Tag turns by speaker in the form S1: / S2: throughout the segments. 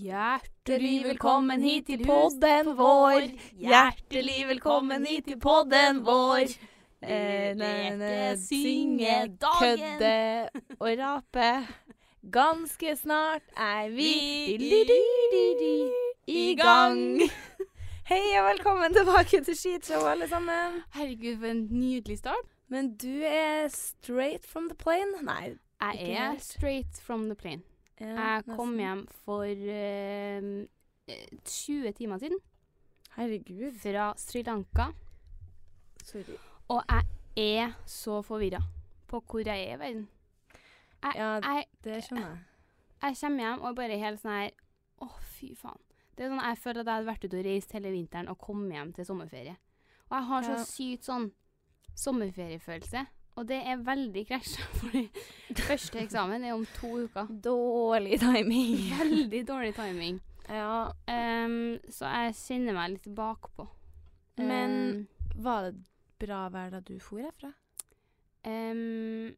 S1: Hjertelig velkommen hit til podden vår. Hjertelig velkommen hit til podden vår. Eh,
S2: leke,
S1: ne- ne-
S2: synge dagen.
S1: kødde og rape. Ganske snart er vi
S2: Vi
S1: di-di-di-di-di, i gang. Hei og velkommen tilbake til skitshow, alle sammen.
S2: Herregud, for en nydelig start.
S1: Men du er straight from the plane? Nei. Ikke
S2: Jeg er
S1: helt.
S2: straight from the plane.
S1: ja,
S2: Jeg kom
S1: nesten.
S2: hjem for eh, eh, 20 timer siden
S1: Herregud.
S2: fra Sri Lanka,
S1: Sorry.
S2: og jeg er så forvirra på hvor jeg er i verden. Jeg,
S1: Ja,
S2: jeg,
S1: Det skjønner jeg.
S2: jeg kommer hjem og er bare helt sånn her Å, fy faen. Det er sånn Jeg føler at jeg hadde vært ute og reist hele vinteren og kommet hjem til sommerferie. Og jeg har så
S1: Ja.
S2: sykt sånn sommerferiefølelse. Og det er veldig krasja, fordi første eksamen er om to uker.
S1: Dårlig timing.
S2: Veldig dårlig timing.
S1: Ja,
S2: Ehm, så jeg kjenner meg litt bakpå.
S1: Men- var det bra vær da du for herfra?
S2: Ehm,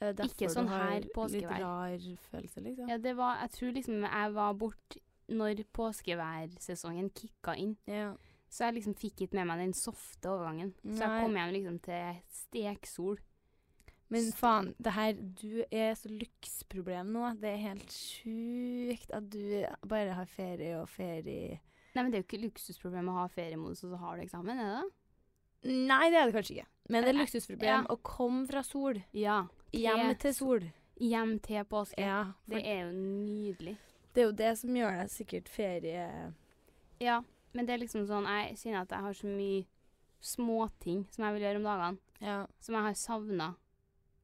S1: Er det
S2: Ikke
S1: derfor
S2: sånn
S1: du har
S2: her
S1: Litt
S2: påskevær.
S1: rar følelse, liksom?
S2: ja, det var Jeg tror liksom jeg var bort når påskeværsesongen kicka inn.
S1: Ja.
S2: Så jeg liksom fikk ikke med meg den softe overgangen. Så
S1: Nei.
S2: jeg kom hjem liksom til steksol.
S1: Men
S2: St-
S1: faen, det her Du er så luksusproblem nå. Det er helt sjukt at du bare har ferie og ferie
S2: Nei, men det er jo ikke luksusproblem å ha feriemodus, og så har du eksamen, er det det?
S1: Nei, det er det kanskje ikke. Men det er
S2: Eh,
S1: luksusproblem
S2: ja.
S1: å komme fra sol.
S2: Ja.
S1: Hjem
S2: Til
S1: til sol.
S2: Hjem til påske.
S1: Ja. For
S2: Det er jo nydelig.
S1: det er jo det som gjør deg sikkert ferie...
S2: Ja, men det er liksom sånn Jeg kjenner at jeg har så mye småting som jeg vil gjøre om dagene,
S1: Ja.
S2: som jeg har savna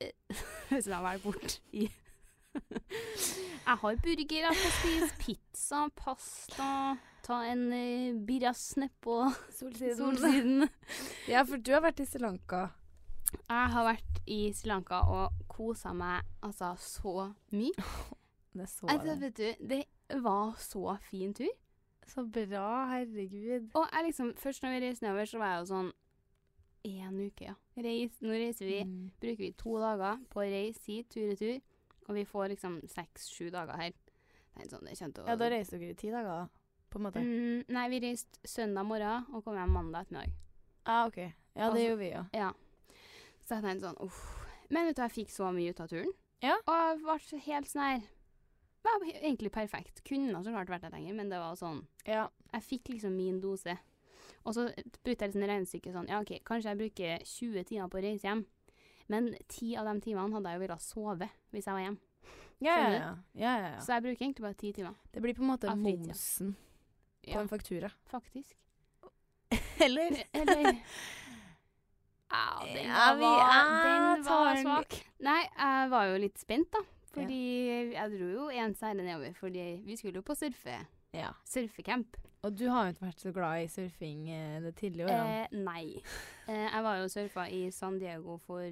S2: Hvis jeg har vært bort i
S1: Ah,
S2: Jeg har burger, jeg skal spise pizza, pasta, ta en eh, birras nedpå
S1: Solsiden.
S2: sånn. solsiden.
S1: Ja, for du har vært i Sri Lanka.
S2: Jeg har vært i Sri Lanka og kosa meg altså så mye.
S1: Det så
S2: Altså,
S1: jeg.
S2: vet du, det var så fin tur.
S1: Så bra, herregud.
S2: Og jeg liksom, først når vi reiste nedover, så var jeg jo sånn én uke, ja. Reis, nå reiser vi,
S1: Mm.
S2: bruker vi to dager på å reise hit, tur-retur, og vi får liksom seks-sju dager her. Det er sånn, det kjente å...
S1: Ja, da reiste dere i ti dager, da. På en måte.
S2: Mm, nei, vi reiste søndag morgen og kom hjem mandag ettermiddag.
S1: Ah, ok. Ja,
S2: Altså-
S1: det gjorde vi jo.
S2: Ja. Så jeg tenkte sånn, uff. Men vet du, jeg fikk så mye ut av turen.
S1: Ja.
S2: Og jeg var så helt sånn her, var egentlig perfekt. Kunne ha så klart vært der lenger, men det var sånn,
S1: Ja.
S2: jeg fikk liksom min dose. Og så brukte jeg liksom regnestykket sånn, ja ok, kanskje jeg bruker 20 timer på å reise hjem. Men 10 av de timene hadde jeg jo villet sove hvis jeg var hjemme.
S1: Ja, ja,
S2: Skjønner
S1: ja. ja, ja, ja.
S2: Så jeg bruker egentlig bare 10 timer.
S1: Det blir på en måte
S2: Av fritida.
S1: momsen på
S2: Ja,
S1: en faktura.
S2: faktisk.
S1: Eller?
S2: Eller... Au, den
S1: Ja, vi-
S2: var,
S1: ja,
S2: den var
S1: tar den-
S2: svak. Nei, jeg var jo litt spent da. Fordi jeg dro jo en serie nedover, fordi vi skulle jo på surfe,
S1: Ja.
S2: surfecamp.
S1: Og du har jo ikke vært så glad i surfing eh, det tidligere årene.
S2: Eh, nei. Eh, jeg var jo og surfa i San Diego for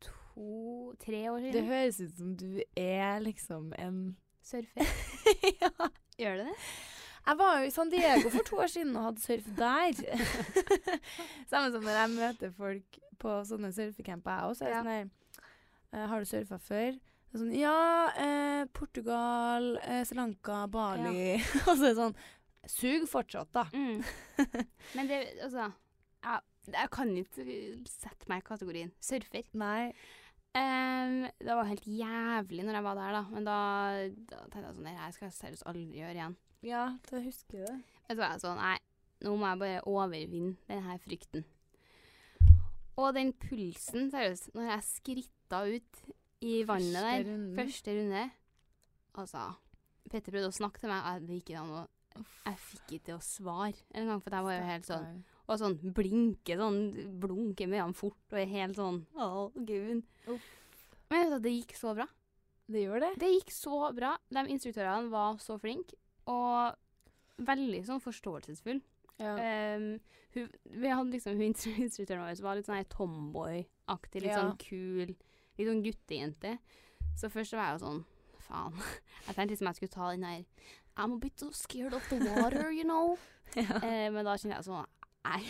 S2: to, tre år
S1: Det
S2: siden.
S1: høres ut som du er liksom en
S2: Surfe.
S1: ja.
S2: Gjør det det?
S1: Jeg var jo i San Diego for to år siden og hadde surf der. Samme som når jeg møter folk på sånne surfecamper, jeg også. er
S2: Ja.
S1: Sånn der, eh, har du surfa før? Det er Sånn, ja, eh, Portugal, eh, Sri Lanka, Bali Og så er det sånn Sug fortsatt, da.
S2: Mm. Men det, altså jeg, jeg kan ikke sette meg i kategorien surfer.
S1: Nei.
S2: Ehm, det var helt jævlig når jeg var der, da. Men da, da tenkte jeg sånn Det her skal jeg seriøst aldri gjøre igjen.
S1: Ja, jeg husker det.
S2: Vet du hva, jeg er sånn Nei, nå må jeg bare overvinne denne frykten. Og den pulsen, seriøst. Når jeg skritta ut i vannet der Første runde Altså Petter prøvde å snakke til meg, og det gikk ikke an å Jeg fikk ikke til å svare en gang, for jeg var jo helt sånn Og sånn blinke, sånn blunke med øynene fort, og er helt sånn Å, gud. Men vet du, det gikk så bra.
S1: Det gjør det.
S2: Det gikk så bra. De instruktørene var så flinke, og veldig sånn forståelsesfull.
S1: Ja.
S2: Ehm, hun, vi hadde liksom, hun instru- instruktøren vår som var litt sånn her tomboy-aktig, litt
S1: Ja.
S2: sånn kul, litt sånn guttejente. Så først så var jeg jo sånn, faen. Jeg tenkte liksom jeg skulle ta den her, I'm a bit so scared of the water, you know. Eh, men da kjente jeg sånn, nei.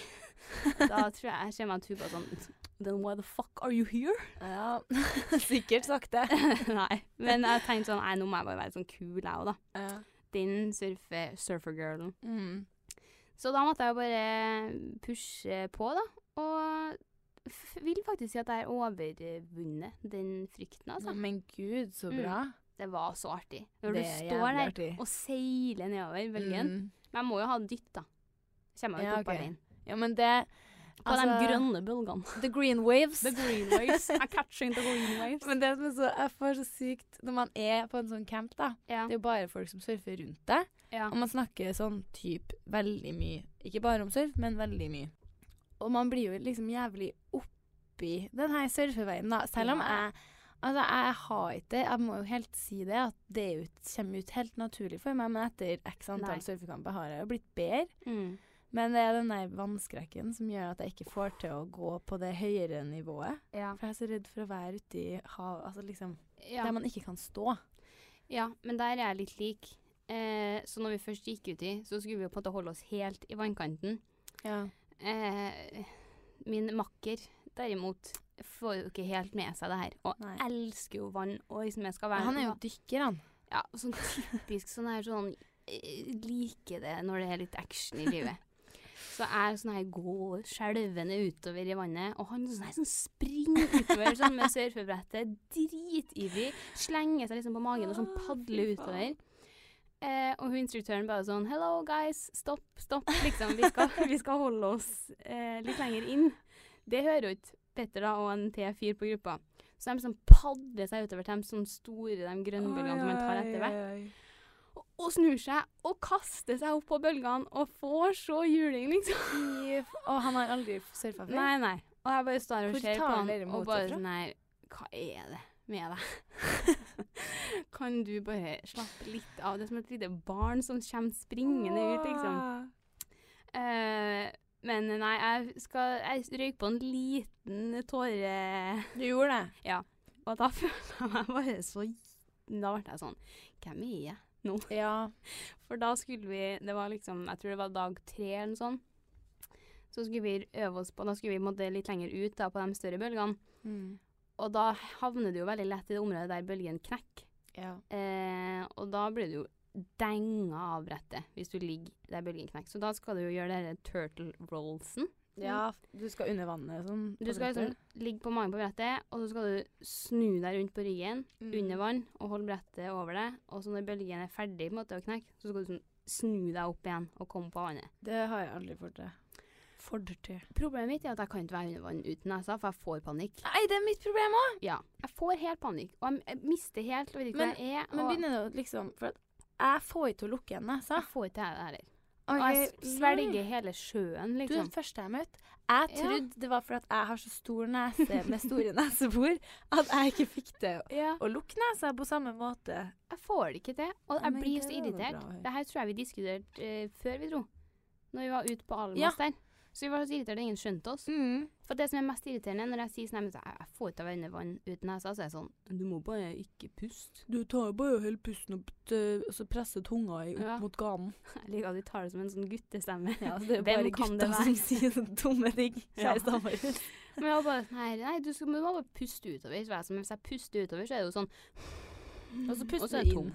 S2: Da tror jeg jeg kommer meg til å bare sånn, then why the fuck are you here?
S1: Sikkert sagt det.
S2: nei, men jeg tenkte sånn, nei, nå må jeg bare være sånn kul jeg også da. den surfe, surfergirlen.
S1: Mm.
S2: Så da måtte jeg bare pushe på, da. Og f vil faktisk si at jeg har overvunnet den frykten, altså.
S1: Men gud, så
S2: Mm.
S1: bra.
S2: Det var så artig. Når
S1: Mm. Det
S2: du
S1: er
S2: står
S1: jævlig
S2: der
S1: artig.
S2: og seiler nedover bølgen.
S1: Mm.
S2: Men jeg må jo ha dytt, da. Kommer jeg jo
S1: Ja,
S2: ikke opp
S1: ok.
S2: alene.
S1: Ja, men det altså,
S2: På de grønne bølgene. altså.
S1: The green waves.
S2: The green waves. I'm catching the green waves.
S1: Men det som er så, jeg får så sykt Når man er på en sånn camp, da
S2: Ja.
S1: Det er jo bare folk som surfer rundt deg.
S2: ja.
S1: Og man snakker sånn typ veldig mye. Ikke bare om surf, men veldig mye. Og man blir jo liksom jævlig oppi den her surfeveien, da. Selv om
S2: Ja.
S1: jeg Altså, jeg har ikke det. Jeg må jo helt si det, at det er jo ikke- kommer jo ikke helt naturlig for meg. Men etter x
S2: Nei.
S1: antall surfekamper har jeg jo blitt bedre.
S2: Mm.
S1: Men det er den der vannskrekken som gjør at jeg ikke får til å gå på det høyere nivået.
S2: Ja.
S1: For jeg er så redd for å være ute i havet, altså liksom
S2: Ja.
S1: Der man ikke kan stå.
S2: ja, men der er jeg litt lik. Eh, så når vi først gikk uti, så skulle vi jo på en måte holde oss helt i vannkanten.
S1: Ja.
S2: Eh, min makker derimot får jo ikke helt med seg det her, og
S1: Nei.
S2: elsker jo vann. Og liksom jeg skal være
S1: Han er jo dykker, han.
S2: ja, sånn typisk sånn her sånn eh, Liker det når det er litt action i livet. Så jeg sånn her går skjelvende utover i vannet, og han sånn her sånn springer utover sånn med surfebrettet, dritivrig, slenger seg liksom på magen og sånn padler
S1: Å, fy faen.
S2: utover. Eh, og hun instruktøren bare sånn 'Hello, guys. Stopp, stopp.' Liksom, vi skal, vi skal holde oss eh, litt lenger inn. Det hører jo ikke Petter da, og en T4 på gruppa. Så de sånn padler seg utover til de sånn store, de grønne bølgene som man tar etter hvert og- og snur seg og kaster seg opp på bølgene og får så juling, liksom.
S1: Fy f- Og han har aldri surfa før?
S2: Nei, nei. Og jeg bare står og
S1: Hvor
S2: ser på
S1: tar
S2: han
S1: dere
S2: og
S1: motet
S2: bare
S1: fra?
S2: sånn her Hva er det med deg? kan du bare slappe litt av? Det er som et lite barn som kommer springende ut, liksom. Eh, men nei, jeg skal Jeg røyk på en liten tåre,
S1: Du gjorde det?
S2: og da følte jeg meg bare så Da ble jeg sånn Hvem er jeg?
S1: Ja.
S2: For da skulle vi Det var liksom Jeg tror det var dag tre eller noe sånt. Så skulle vi øve oss på Da skulle vi på en måte litt lenger ut da, på de større bølgene. Mm. Og da havner du jo veldig lett i det området der bølgen knekker.
S1: ja.
S2: Eh, og da blir du jo denga av brettet hvis du ligger der bølgen knekker. Så da skal du jo gjøre denne turtle rollsen.
S1: Ja, du skal under vannet sånn? på
S2: Mm. Du skal liksom
S1: brettet.
S2: ligge på magen på brettet, og så skal du snu deg rundt på ryggen
S1: Mm.
S2: under vann og holde brettet over deg. Og så når bølgen er ferdig på en måte å knekke, så skal du sånn snu deg opp igjen og komme på vannet.
S1: Det har jeg aldri fått til. Fått til.
S2: Problemet mitt er at jeg kan ikke være under vann uten nesa, for jeg får panikk.
S1: Nei, det er mitt problem òg!
S2: Ja, jeg får helt panikk, og jeg- jeg mister helt, og vet ikke
S1: Men-
S2: hva jeg er.
S1: Men
S2: og
S1: begynner det å liksom For at jeg får ikke til å lukke igjen nesa.
S2: jeg får ikke det her heller.
S1: Og
S2: Og jeg s- svelger hele sjøen,
S1: Du er
S2: liksom.
S1: den første jeg møtte. Jeg
S2: Ja.
S1: trodde det var fordi at jeg har så stor nese med store nesebor at jeg ikke fikk det
S2: Ja,
S1: å lukke nesa på samme måte.
S2: jeg får det ikke til, og
S1: Ja,
S2: jeg
S1: men
S2: blir
S1: det
S2: så
S1: var jo bra,
S2: irritert.
S1: ja.
S2: Det her tror jeg vi diskuterte eh, før vi dro, når vi var ute på Almas
S1: Ja.
S2: der. Så vi var så irritert at ingen skjønte oss.
S1: Mm.
S2: For det som er mest irriterende når jeg sier sånn, jeg, jeg får ikke til å være under vann uten nesa, så er jeg sånn, du må bare ikke puste.
S1: Du tar jo bare og holder pusten opp til, og så presser tunga i
S2: Ja.
S1: mot ganen.
S2: Jeg liker at de tar det som en sånn guttestemme.
S1: Ja, det er jo
S2: Hvem
S1: bare
S2: kan
S1: gutta
S2: det være?
S1: som sier sånne dumme ting.
S2: Ja.
S1: Kjæresten vår.
S2: Men jeg var bare sånn her Nei, du, skal, men du må bare puste utover. Så var jeg sånn, men hvis jeg puster utover, så er det jo sånn
S1: Og så puster
S2: er
S1: du
S2: jeg
S1: inn.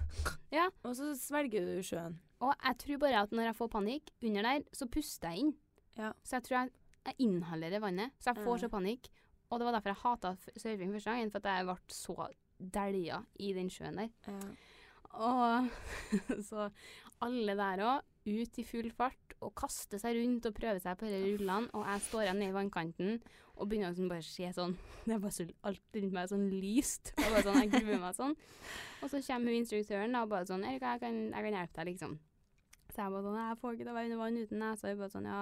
S2: Ja.
S1: Og så svelger du sjøen.
S2: Og jeg tror bare at når jeg får panikk under der, så puster jeg inn.
S1: Ja.
S2: Så jeg tror jeg, jeg inhalerer vannet. Så jeg får
S1: Ja.
S2: så panikk. Og det var derfor jeg hata surfing første gangen, for at jeg ble så dælja i den sjøen der. Og så alle der òg, ut i full fart og kaste seg rundt og prøve seg på disse rullene. Og jeg står igjen nede i vannkanten og begynner å liksom bare se sånn Det er bare så alt rundt meg er sånn lyst. Og bare sånn, jeg gruer meg sånn. Og så kommer hun instruktøren da, og bare sånn 'Erika, jeg kan, jeg kan hjelpe deg', liksom. Så jeg bare sånn 'Jeg får ikke til å være under vann uten deg'. Så jeg bare sånn 'Ja,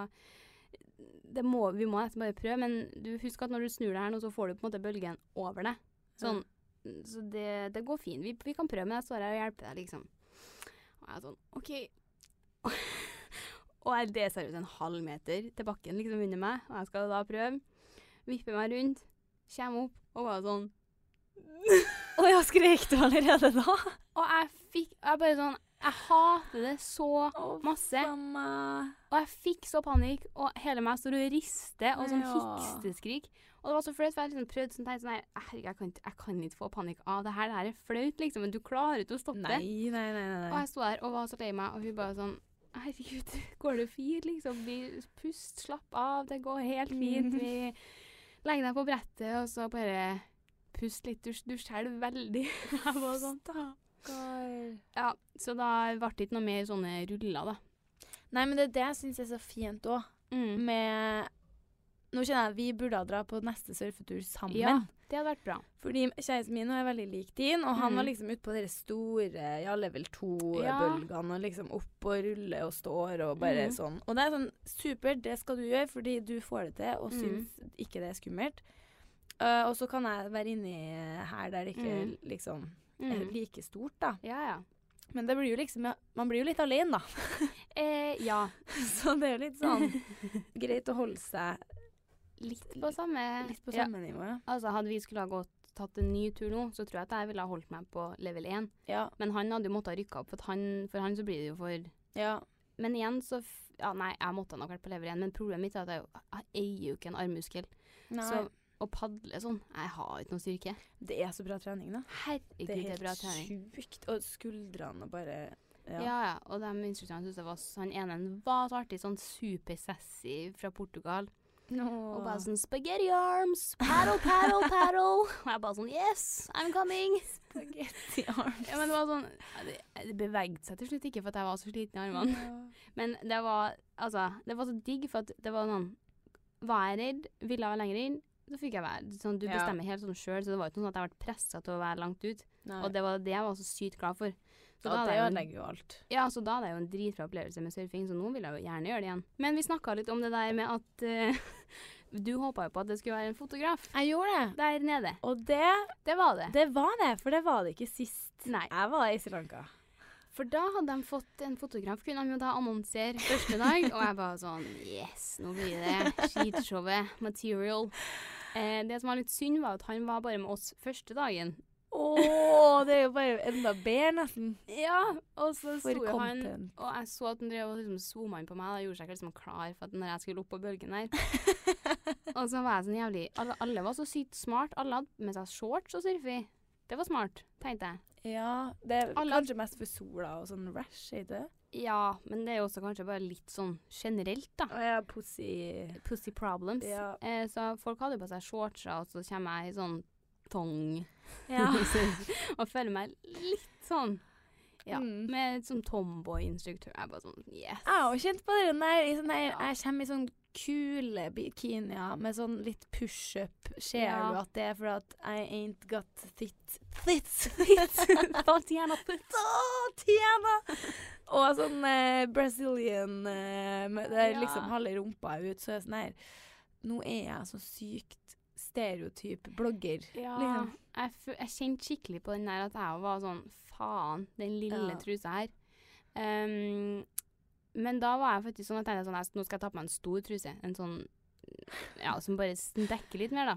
S2: det må, vi må nesten bare prøve', men du husk at når du snur deg her nå, så får du på en måte bølgen over deg. Sånn, så det, det går fint. Vi, vi kan prøve, men jeg står her og hjelper deg, liksom. Og jeg er sånn, OK. og jeg, det er seriøst en halv meter til bakken liksom under meg, og jeg skal da prøve. Vipper meg rundt, kommer opp, og bare sånn
S1: Og jeg skrek du allerede da?
S2: Og jeg fikk Jeg bare sånn Jeg hater det så
S1: Å,
S2: masse.
S1: faen meg.
S2: Og jeg fikk så panikk, og hele meg står og rister, og sånn
S1: Ja.
S2: hiksteskrik. Og det var så flaut, for jeg liksom prøvde sånn tenkte sånn her Herregud, jeg kan, ikke- jeg kan ikke få panikk av det her. Det her er flaut, liksom. Men du klarer ikke å stoppe
S1: Nei,
S2: det.
S1: nei, nei. nei,
S2: Og
S1: nei.
S2: jeg sto der og var så lei meg, og hun bare sånn Herregud, går det fint, liksom? Vi pust, slapp av, det går helt
S1: Mm.
S2: fint. Vi legger deg på brettet, og så bare pust litt. Du, du skjelver veldig. Jeg var sånn
S1: Stakkar.
S2: Ja, så da ble det ikke noe mer sånne ruller, da.
S1: Nei, men det er det jeg syns er så fint òg,
S2: Mm.
S1: med Nå kjenner jeg at vi burde dra på neste surfetur sammen.
S2: Ja. Det hadde vært bra.
S1: Fordi kjæresten min nå er veldig lik din, og han
S2: Mhm.
S1: var liksom ute på de store ja, level
S2: Ja.
S1: 2-bølgene og liksom opp og rulle og står og bare
S2: Mhm.
S1: sånn. Og det er sånn supert, det skal du gjøre fordi du får det til og
S2: Mhm.
S1: syns ikke det er skummelt. Eh, og så kan jeg være inni her der det ikke
S2: Mhm.
S1: liksom er
S2: Mm.
S1: like stort, da.
S2: Ja, ja.
S1: Men det blir jo liksom Man blir jo litt alene, da.
S2: Eh, ja.
S1: så det er jo litt sånn greit å holde seg
S2: Litt på samme,
S1: litt på
S2: ja.
S1: samme nivå. Ja.
S2: Altså, Hadde vi skulle ha gått tatt en ny tur nå, så tror jeg at jeg ville ha holdt meg på level 1.
S1: ja.
S2: Men han hadde jo måttet rykke opp, for, at han, for han så blir det jo for
S1: Ja.
S2: Men igjen så f- Ja, nei, jeg måtte nok vært på level 1, men problemet mitt er at jeg, jo- jeg eier jo ikke en armmuskel.
S1: Nei.
S2: Så å padle sånn Jeg har ikke noe styrke.
S1: det er så bra trening, da.
S2: Herregud, det er bra trening.
S1: sjukt. Og skuldrene og bare
S2: Ja.
S1: ja.
S2: ja, Og de instruktørene syntes jeg var s- Han ene var så artig, sånn supersassy fra Portugal. Og bare sånn Spaghetti arms, paddle, paddle, paddle. Og jeg bare sånn Yes, I'm coming.
S1: spagetti arms.
S2: Ja, men det var sånn Det, det bevegde seg til slutt ikke for at jeg var så sliten i armene.
S1: Ja.
S2: Men det var altså Det var så digg, for at det var sånn Var jeg redd, ville jeg lenger inn, så fikk jeg være sånn, Du
S1: Ja.
S2: bestemmer helt sånn sjøl, så det var ikke noe sånn at jeg ble pressa til å være langt ut.
S1: Nei.
S2: Og det var det jeg var så sykt glad for.
S1: Ja,
S2: Så da hadde
S1: det
S2: jeg jo en-
S1: ødelegger jo alt.
S2: ja, så da hadde jeg jo en dritbra opplevelse med surfing, så nå vil jeg jo gjerne gjøre det igjen. Men vi snakka litt om det der med at eh, Du håpa jo på at det skulle være en fotograf
S1: Jeg gjorde det.
S2: der nede.
S1: Og det,
S2: Det var det.
S1: det var det, for det var det ikke sist.
S2: Nei.
S1: Jeg var i Sri Lanka.
S2: For da hadde de fått en fotograf, kunne de jo da annonsere første dag. Og jeg bare sånn Yes, nå blir det skitshowet. Material. Eh, det som var litt synd, var at han var bare med oss første dagen.
S1: Å, det er jo bare enda bedre, nesten.
S2: Ja, og så sto
S1: For
S2: jo han
S1: content.
S2: Og jeg så at han drev og liksom zooma inn på meg, og gjorde seg ikke liksom klar for at når jeg skulle opp på bølgen der Og så var jeg sånn jævlig Alle, alle var så sykt smart. Alle hadde med seg shorts og surfe. Det var smart, tenkte jeg.
S1: Ja, det er
S2: Alle-
S1: kanskje mest for sola og sånn rash, er det?
S2: Ja, men det er jo også kanskje bare litt sånn generelt, da.
S1: Å ja, Ah. pussy.
S2: Pussy problems.
S1: Ja.
S2: Eh, så folk hadde jo på seg shortser, og så kommer jeg i sånn tong
S1: Ja.
S2: og føler meg litt sånn Ja.
S1: Mm.
S2: Med et sånn tomboy-instruktør. Jeg bare sånn Yes.
S1: Jeg har også kjent på det der. i sånn der
S2: Ja.
S1: Jeg kommer i sånn kule bikinier med sånn litt pushup. Ser
S2: Ja.
S1: du at det er fordi at I ain't got thitt Thits!
S2: Tatiana Putt.
S1: Å, Tjena! Og sånn eh, Brazilian eh, med- der
S2: Ja.
S1: liksom halve rumpa er ut, så er jeg sånn her Nå er jeg så sykt stereotyp blogger.
S2: Ja.
S1: Liksom.
S2: Jeg, fø- jeg kjente skikkelig på den der at jeg var sånn Faen, den lille
S1: Ja.
S2: trusa her. Ehm, men da var jeg faktisk sånn at jeg tenkte sånn jeg- Nå skal jeg ta på meg en stor truse. En sånn Ja, som bare s- dekker litt mer, da.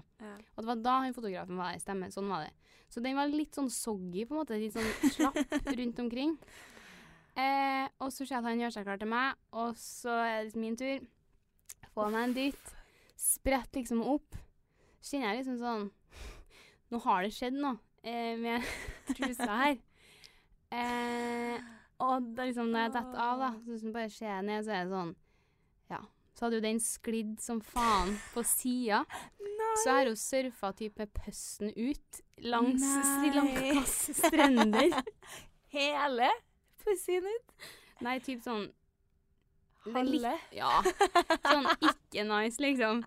S2: Og det var da han fotografen var der. Stemmer. Sånn var det. Så den var litt sånn soggy, på en måte. Litt sånn slapp rundt omkring. Eh, og så ser jeg at han gjør seg klar til meg, og så er det liksom min tur. Få meg en dytt. Sprett liksom opp. Kjenner jeg liksom sånn Nå har det skjedd noe eh, med trusa her. Eh, og da liksom når jeg detter av, da, så liksom bare ser jeg ned, så er det sånn Ja. Så hadde jo den sklidd som faen på sida. Så har hun surfa typ med pøsten ut langs
S1: Nei.
S2: Sri Lankas strender.
S1: Hele pussyen ut.
S2: Nei, typ sånn Det er litt-
S1: Halve.
S2: Ja. Sånn ikke nice, liksom.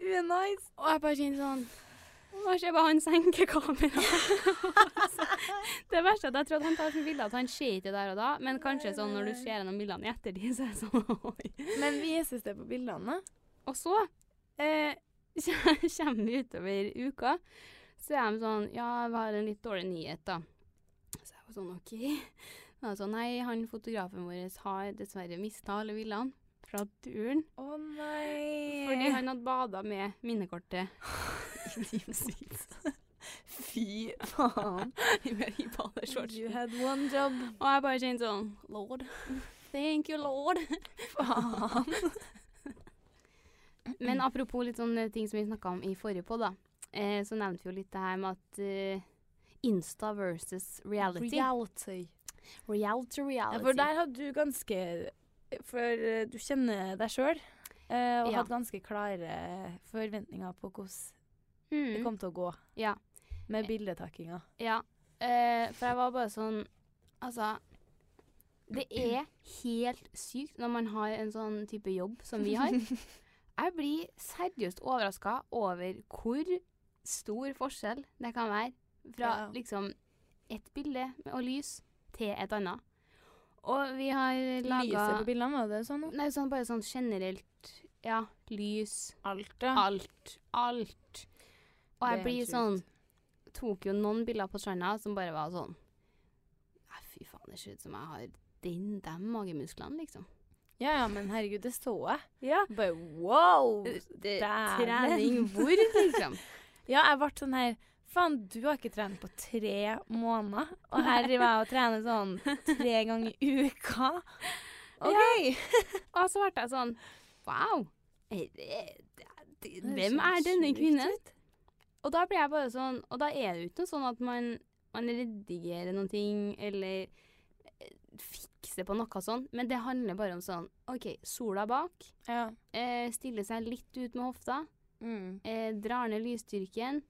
S1: Unice.
S2: Og jeg bare kjenner sånn Hva skjer bare han senker kameraet? det verste er at jeg tror at han tar sånne bilder at han ser ikke det der og da, men kanskje
S1: Nei,
S2: sånn når du
S1: nei.
S2: ser gjennom bildene i ettertid, så er det sånn Oi.
S1: Men vises det på bildene?
S2: Og så eh, kommer vi utover uka, så er de sånn Ja, vi har en litt dårlig nyhet, da. Så jeg var sånn OK. Da er det sånn, nei, han fotografen vår har dessverre mista alle bildene fra turen.
S1: Å nei.
S2: Fordi han hadde bada med minnekortet.
S1: Fordi han Fy faen.
S2: I badeshorts.
S1: You had one job.
S2: Og jeg bare kjente sånn Lord. Thank you, lord.
S1: Faen.
S2: Men apropos litt sånne ting som vi snakka om i forrige podd, da. Eh, så nevnte vi jo litt det her med at eh, Insta versus reality.
S1: Reality.
S2: reality,
S1: Ja,
S2: reality.
S1: for der hadde du ganske For eh, du kjenner deg sjøl. eh, og
S2: Ja.
S1: hadde ganske klare forventninger på hvordan det
S2: mm.
S1: kom til å gå
S2: Ja.
S1: med bildetakkinga.
S2: Ja, eh, for jeg var bare sånn Altså, det er helt sykt når man har en sånn type jobb som vi har. Jeg blir seriøst overraska over hvor stor forskjell det kan være fra
S1: Ja.
S2: liksom et bilde med- og lys til et annet. Og vi har laga
S1: Lyset på bildene, var det sånn?
S2: Nei, sånn, bare sånn generelt Ja, lys,
S1: Alt, ja.
S2: alt, alt. Og jeg
S1: Det er
S2: blir
S1: helt
S2: sånn Tok jo noen bilder på stranda som bare var sånn «Nei, Fy faen, det ser ut som jeg har den, de magemusklene, liksom.
S1: Ja ja, men herregud, det så jeg.
S2: Ja.
S1: Bare wow!
S2: Trening hvor, liksom?
S1: Ja, jeg ble sånn her Faen, du har ikke trent på tre måneder, og her driver jeg og trener sånn tre ganger i uka. OK!
S2: Og så ble jeg sånn Wow! er det- det- Hvem er denne
S1: Sykt
S2: kvinnen? Og da blir jeg bare sånn Og da er det jo ikke noe sånn at man, man redigerer noen ting, eller eh, fikser på noe sånn, men det handler bare om sånn OK, sola bak.
S1: Ja.
S2: eh, stiller seg litt ut med hofta,
S1: Mm.
S2: eh, drar ned lysstyrken.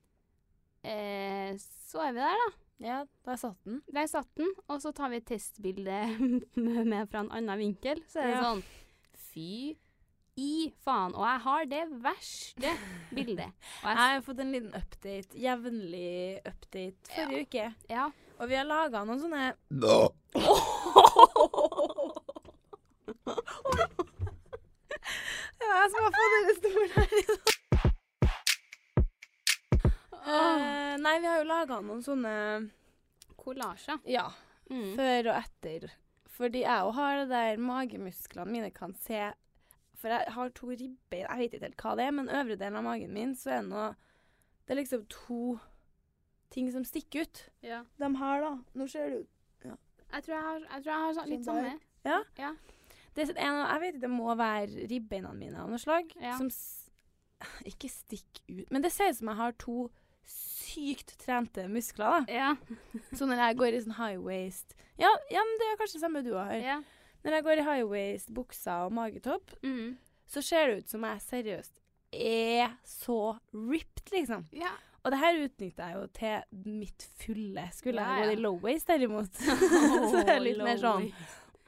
S2: Eh, så er vi der, da.
S1: ja, der satt den.
S2: Der satt den. Og så tar vi et testbilde med fra en annen vinkel. Så er det
S1: Ja.
S2: sånn Fy i faen. Og jeg har det verste bildet. Og
S1: Jeg
S2: jeg,
S1: har fått en liten update, jevnlig update, forrige uke.
S2: ja.
S1: Og vi har laga noen sånne Det er jeg som har fått denne stolen her i dag.
S2: Ah.
S1: Eh, nei, vi har jo laga noen sånne
S2: Kollasjer.
S1: Ja,
S2: Mm.
S1: før og etter. Fordi jeg jo har det der magemusklene mine kan se For jeg har to ribbein, jeg vet ikke helt hva det er, men øvre delen av magen min, så er det noe Det er liksom to ting som stikker ut.
S2: Ja.
S1: De her, da. Nå ser det ut
S2: Jeg tror jeg har, jeg tror jeg har sånn, litt
S1: Sånn
S2: samme.
S1: der. Ja.
S2: Ja.
S1: det, er sånn en, Jeg vet ikke, det må være ribbeina mine av noe slag.
S2: Ja.
S1: Som s ikke stikker ut Men det ser ut som jeg har to sykt trente muskler.
S2: Ja.
S1: da Så når jeg går i sånn high waist ja, ja, men det er kanskje det samme du har.
S2: ja.
S1: Når jeg går i high waist, bukser og magetopp,
S2: Mm.
S1: så ser det ut som jeg seriøst er så ripped, liksom.
S2: ja.
S1: Og det her utnytter jeg jo til mitt fulle. Skulle
S2: Ja,
S1: jeg
S2: ja. Oh,
S1: gått i low waist, derimot, så det er litt mer sånn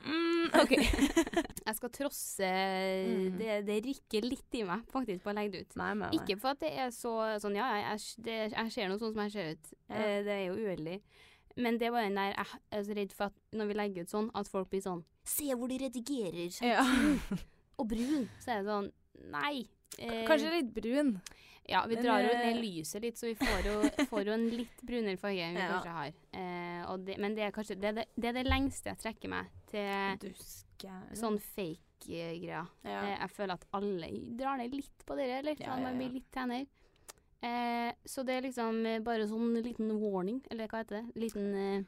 S1: mm, OK.
S2: Jeg skal trosse
S1: Mm.
S2: det, det rikker litt i meg faktisk på å legge det ut.
S1: Nei, nei, nei.
S2: Ikke for at det er så sånn Ja, ja, jeg, s- det, jeg ser noe sånn som jeg ser ut.
S1: Ja.
S2: Eh, det er jo uheldig. Men det er bare den der Jeg er så redd for at når vi legger ut sånn, at folk blir sånn Se hvor de redigerer seg
S1: Ja.
S2: og brun! Så er det sånn Nei. Eh,
S1: Kanskje litt brun.
S2: Ja, vi
S1: men,
S2: drar jo
S1: eh,
S2: ned lyset litt, så vi får jo, får jo en litt brunere farge enn vi
S1: Ja.
S2: kanskje har. Eh, og det, men det er kanskje det, er det, det er det lengste jeg trekker meg til
S1: Dusker
S2: Eh, sånn fake-greier.
S1: ja.
S2: Eh, Jeg føler at alle drar ned litt på dere, eller
S1: Ja, ja,
S2: sånn,
S1: ja.
S2: man blir litt tenner. Eh, så det er liksom eh, bare sånn liten warning, eller hva heter det? Liten eh,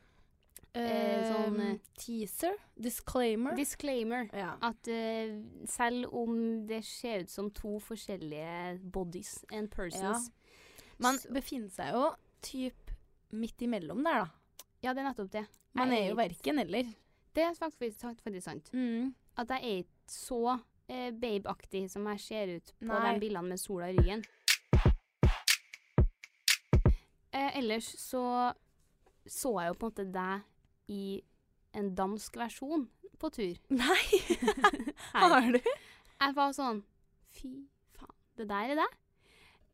S2: eh, sånn, eh,
S1: teaser? Disclaimer?
S2: disclaimer.
S1: ja.
S2: At eh, selv om det ser ut som to forskjellige bodies and persons
S1: Man befinner seg jo typ midt imellom der, da.
S2: Ja, det er nettopp det.
S1: Man
S2: Jeg
S1: er jo verken eller.
S2: Det er faktisk, faktisk sant. At jeg er ikke så eh, babeaktig som jeg ser ut på
S1: Nei.
S2: de bildene med sola i ryggen. Eh, ellers så så jeg jo på en måte deg i en dansk versjon på tur.
S1: Nei,
S2: Her.
S1: har du?
S2: Jeg var sånn Fy faen, det der er deg.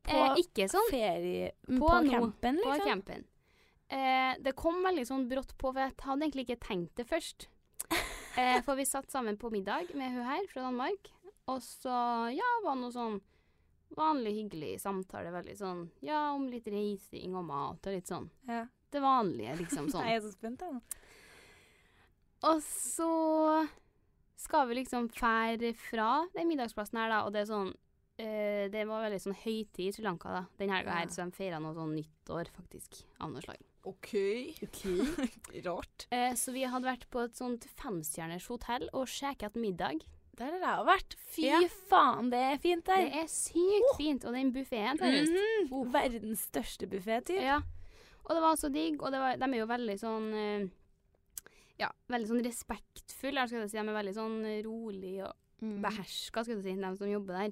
S1: På
S2: Eh, ikke sånn
S1: ferie Mm, På,
S2: nå.
S1: campen,
S2: på
S1: liksom?
S2: campen. Eh, det kom veldig sånn brått på, for jeg hadde egentlig ikke tenkt det først. Eh, for vi satt sammen på middag med hun her fra Danmark, og så ja, var det noe sånn vanlig hyggelig samtale, veldig sånn ja, om litt reising og mat og litt sånn.
S1: Ja.
S2: Det vanlige, liksom
S1: Nei,
S2: sånn.
S1: jeg er så spent, jeg nå.
S2: Og så skal vi liksom fære fra den middagsplassen her, da, og det er sånn eh, det var veldig sånn høytid i Sri Lanka da. den helga
S1: Ja.
S2: her, så de feira noe sånn nyttår, faktisk. Av noe slag.
S1: OK. Rart.
S2: Eh, så vi hadde vært på et sånt femstjerners hotell og sjekket middag.
S1: Der har jeg vært. Fy
S2: Ja.
S1: faen, det er fint der.
S2: Det er
S1: Oh.
S2: sykt fint. Og den buffeen, seriøst.
S1: Mhm.
S2: Uff.
S1: Verdens største buffé, typ.
S2: Ja. Og det var så digg, og det var, de er jo veldig sånn eh, Ja, veldig sånn respektfulle, eller skal jeg si. De er veldig sånn rolig og
S1: Mm.
S2: beherska, skal jeg si, de som jobber der.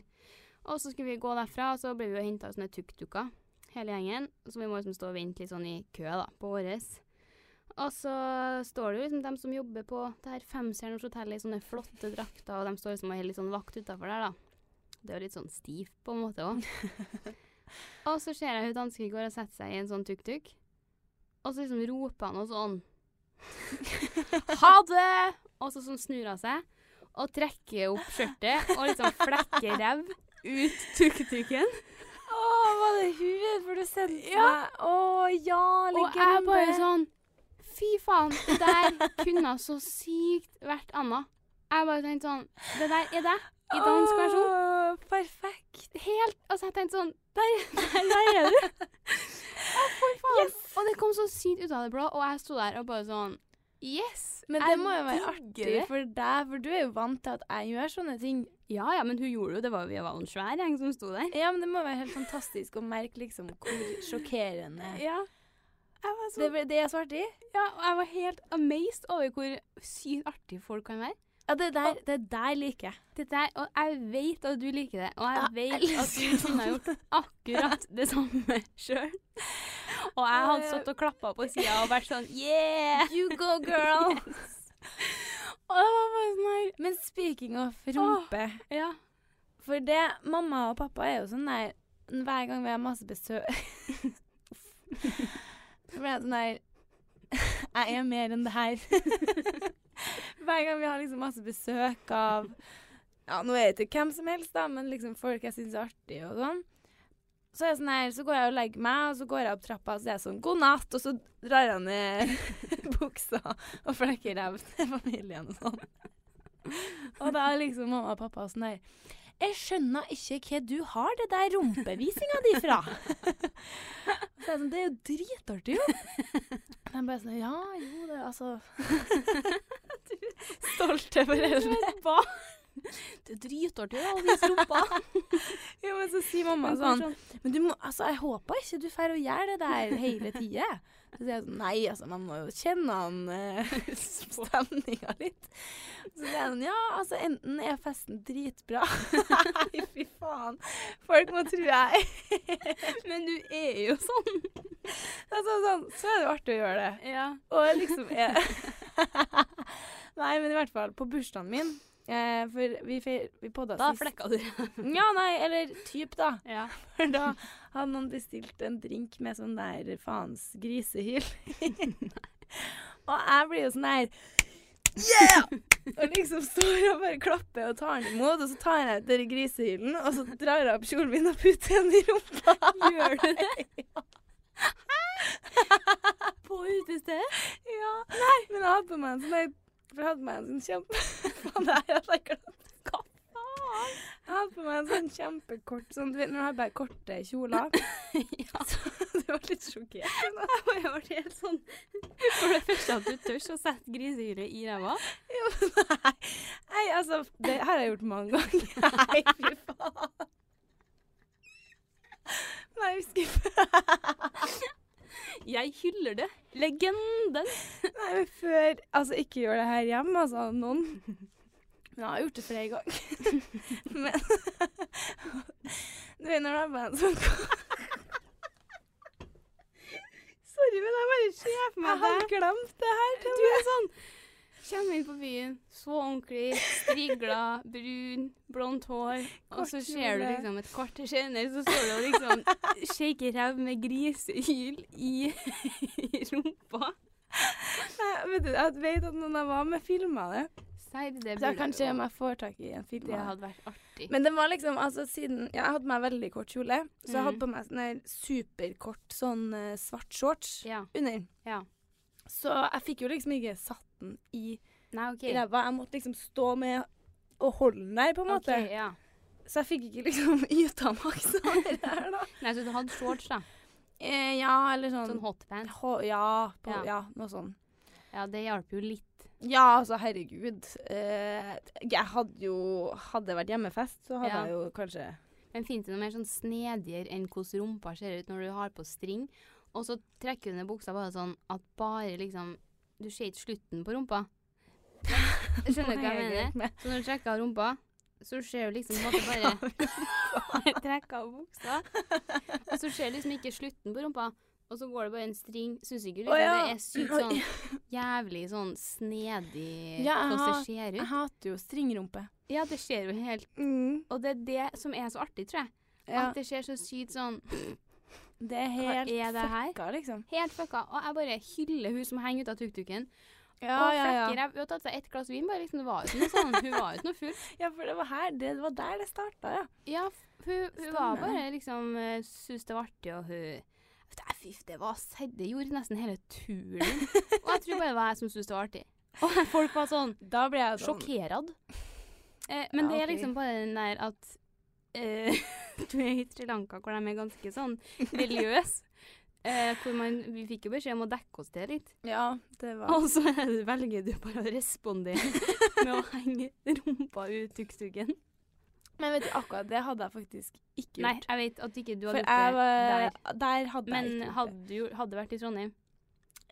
S2: Og så skulle vi gå derfra, og så ble vi jo henta sånne tuk-tuker, hele gjengen. Så vi må liksom stå og vente litt sånn i kø, da, på våres. Og så står det jo liksom dem som jobber på det her femstjerners hotell i sånne flotte drakter, og de står liksom og holder litt sånn vakt utafor der, da. Det er jo litt sånn stivt på en måte òg. og så ser jeg hun dansken går og setter seg i en sånn tuk-tuk, og så liksom roper han og sånn Ha det! Og så sånn snur hun seg og trekker opp skjørtet og liksom flekker ræv ut tuk-tuken.
S1: Å, var det hun? For du sendte
S2: Ja.
S1: meg Å ja,
S2: Og
S1: legende.
S2: jeg bare sånn Fy faen, det der kunne så sykt vært Anna. Jeg bare tenkte sånn Det der er deg i dansk versjon.
S1: Å, Perfekt.
S2: Helt Altså, jeg tenkte sånn Der, der, der er du. Å, for faen. Og det kom så sykt ut av det blå, og jeg sto der og bare sånn Yes!
S1: Men det
S2: jeg
S1: må jo være
S2: digger
S1: artig for deg, for du er jo vant til at jeg gjør sånne ting.
S2: Ja ja, men hun gjorde jo det. Var, vi var en svær gjeng som sto der.
S1: Ja, men det må være helt fantastisk å merke liksom hvor sjokkerende
S2: Ja. Jeg var
S1: det, det er så artig.
S2: Ja, og jeg var helt amazed over hvor sykt artig folk kan være.
S1: Ja, det der, det der liker jeg.
S2: Det der, og jeg vet at du liker det, og jeg
S1: Ja,
S2: vet
S1: jeg
S2: at
S1: elsker
S2: du kunne ha gjort akkurat det samme sjøl. Og jeg hadde stått og klappa på sida og vært sånn Yeah!
S1: You go, girl!
S2: Og det var bare sånn her
S1: Men speaking of rumpe
S2: Ja.
S1: For det, mamma og pappa er jo sånn der Hver gang vi har masse besøk Så blir jeg sånn der Jeg er mer enn det her Hver gang vi har liksom masse besøk av Ja, nå er det ikke hvem som helst da Men liksom folk jeg synes er artig og sånn så, er jeg sånn her, så går jeg og legger meg, og så går jeg opp trappa, og så er jeg sånn, god natt, og så drar jeg ned buksa og flekker ræv til familien og sånn. Og da er liksom mamma og pappa sånn her, jeg skjønner ikke hva du har det der rumpevisinga di fra. Så jeg sånn, det er jo dritartig, jo. Og de bare sånn, ja, jo, det er altså Stolte
S2: Du er et barn. Det er dritartig å vise rumpa.
S1: Jo, men så sier mamma sånn Men du må, altså, jeg håper ikke du får å gjøre det der hele tida. Så sier jeg sånn Nei, altså, man må jo kjenne an uh, stemninga litt. Så sier jeg sånn Ja, altså, enten er festen dritbra Nei, fy faen. Folk må tro jeg
S2: Men du er jo sånn.
S1: altså, sånn, Så er det jo artig å gjøre det.
S2: Ja.
S1: Og liksom er Nei, men i hvert fall, på bursdagen min eh, For vi, feir- vi podda
S2: Da
S1: sist.
S2: flekka du.
S1: Ja, nei, eller typ, da.
S2: Ja.
S1: For da hadde noen bestilt en drink med sånn der faens grisehyl. og jeg blir jo sånn der Yeah! Og liksom står og bare klapper og tar den imot, og så tar jeg ut den grisehylen, og så drar jeg opp kjolen min og putter den i rumpa.
S2: Gjør du det? På utestedet?
S1: Ja. Men jeg hadde på meg en sånn der For jeg hadde på meg en sånn kjempe... Faen, det her hadde jeg glemt. Hva faen? Jeg hadde på meg en sånn kjempekort sånn, Du vet når du har bare korte kjoler?
S2: Ja.
S1: Du var litt sjokkert. men
S2: Jeg ble helt sånn For det første at du tør å sette grisehyret i ræva.
S1: Jo, nei. nei, altså, det har jeg gjort mange ganger. Nei, fy faen. Nei, jeg husker ikke.
S2: Jeg hyller det. Legenden.
S1: Nei, men før Altså, ikke gjør det her hjemme, altså, noen. Men jeg har gjort det flere ganger. Men Du vet når det er band som Sorry, men jeg bare ser for
S2: meg
S1: Jeg har glemt det her.
S2: Du er sånn Kommer inn på byen, så ordentlig, strigla, brun, blondt hår. Og så
S1: Kort
S2: ser du
S1: kjole.
S2: liksom et kvarter senere, så står du og liksom shaker ræv med grisehyl i, i rumpa.
S1: Nei, vet du, jeg vet at noen jeg var med, filma det.
S2: Sier du det
S1: Så jeg kan se om
S2: burde
S1: jeg får tak i en film.
S2: Det
S1: av det.
S2: hadde vært artig.
S1: Men det var liksom, altså siden ja, Jeg hadde på meg veldig kort kjole, så jeg
S2: Mhm.
S1: hadde på meg sånn der superkort sånn eh, svart shorts
S2: ja.
S1: under.
S2: Ja.
S1: Så jeg fikk jo liksom ikke satt den i
S2: Nei, OK.
S1: i ræva. Jeg måtte liksom stå med og holde den der, på en måte.
S2: Ok, ja.
S1: Så jeg fikk ikke liksom yta maks av det her, da.
S2: Nei, så du hadde shorts, da.
S1: Eh, ja, eller sånn,
S2: Sånn hotpants.
S1: Hå- ja, på,
S2: Ja.
S1: ja. noe sånn.
S2: Ja, det hjalp jo litt.
S1: Ja, altså, herregud. Eh, jeg hadde jo Hadde det vært hjemmefest, så hadde
S2: Ja.
S1: jeg jo kanskje
S2: Men fins det noe mer sånn snedigere enn hvordan rumpa ser ut når du har på string? Og så trekker du ned buksa bare sånn at bare liksom Du ser ikke slutten på rumpa. Skjønner du hva jeg mener?
S1: mener?
S2: Så når du trekker av rumpa, så ser du liksom på en måte bare Trekk av buksa. Og så ser du liksom ikke slutten på rumpa. Og så går det bare en string. Syns ikke du
S1: Å,
S2: liksom,
S1: ja.
S2: det er sykt sånn jævlig sånn snedig
S1: Ja, jeg
S2: hvordan
S1: har-
S2: det ser
S1: Jeg
S2: ut?
S1: hater jo stringrumpe.
S2: Ja, det ser jo helt Og det er det som er så artig, tror jeg.
S1: Ja,
S2: At det ser så sykt sånn
S1: det er
S2: Hva
S1: helt
S2: er det her?
S1: fucka, liksom.
S2: Helt fucka. Og jeg bare hyller hun som henger ut av tuk-tuken.
S1: Ja,
S2: og
S1: ja,
S2: flekker
S1: ja.
S2: jeg Hun har tatt seg ett glass vin, bare liksom. Det var jo ikke noe sånn. Hun var jo ikke noe full.
S1: ja, for det var her Det var der det starta, ja.
S2: Ja, f- hun, hun
S1: Stemmer
S2: var
S1: det.
S2: bare liksom eh, Syns det var artig, og hun Vet du, jeg, Fy, det var serr. Det gjorde nesten hele turen. Og jeg tror bare det var jeg som syntes det var artig. Og folk var sånn
S1: Da ble jeg sånn
S2: sjokkerad. Eh, men
S1: Ja,
S2: det
S1: ok.
S2: er liksom bare den der at eh, Du er i Sri Lanka, hvor de er ganske sånn religiøse. Eh, hvor man, vi fikk jo beskjed om å dekke oss til litt.
S1: Ja, det var
S2: Og så velger du bare å respondere med å henge rumpa ut tukstugen.
S1: Men vet du, akkurat det hadde jeg faktisk ikke
S2: Nei,
S1: gjort.
S2: jeg vet at ikke du
S1: For
S2: hadde
S1: jeg
S2: gjort det
S1: var
S2: der.
S1: Der, hadde
S2: Men
S1: jeg ikke gjort
S2: hadde du gjort- hadde vært i Trondheim,
S1: det.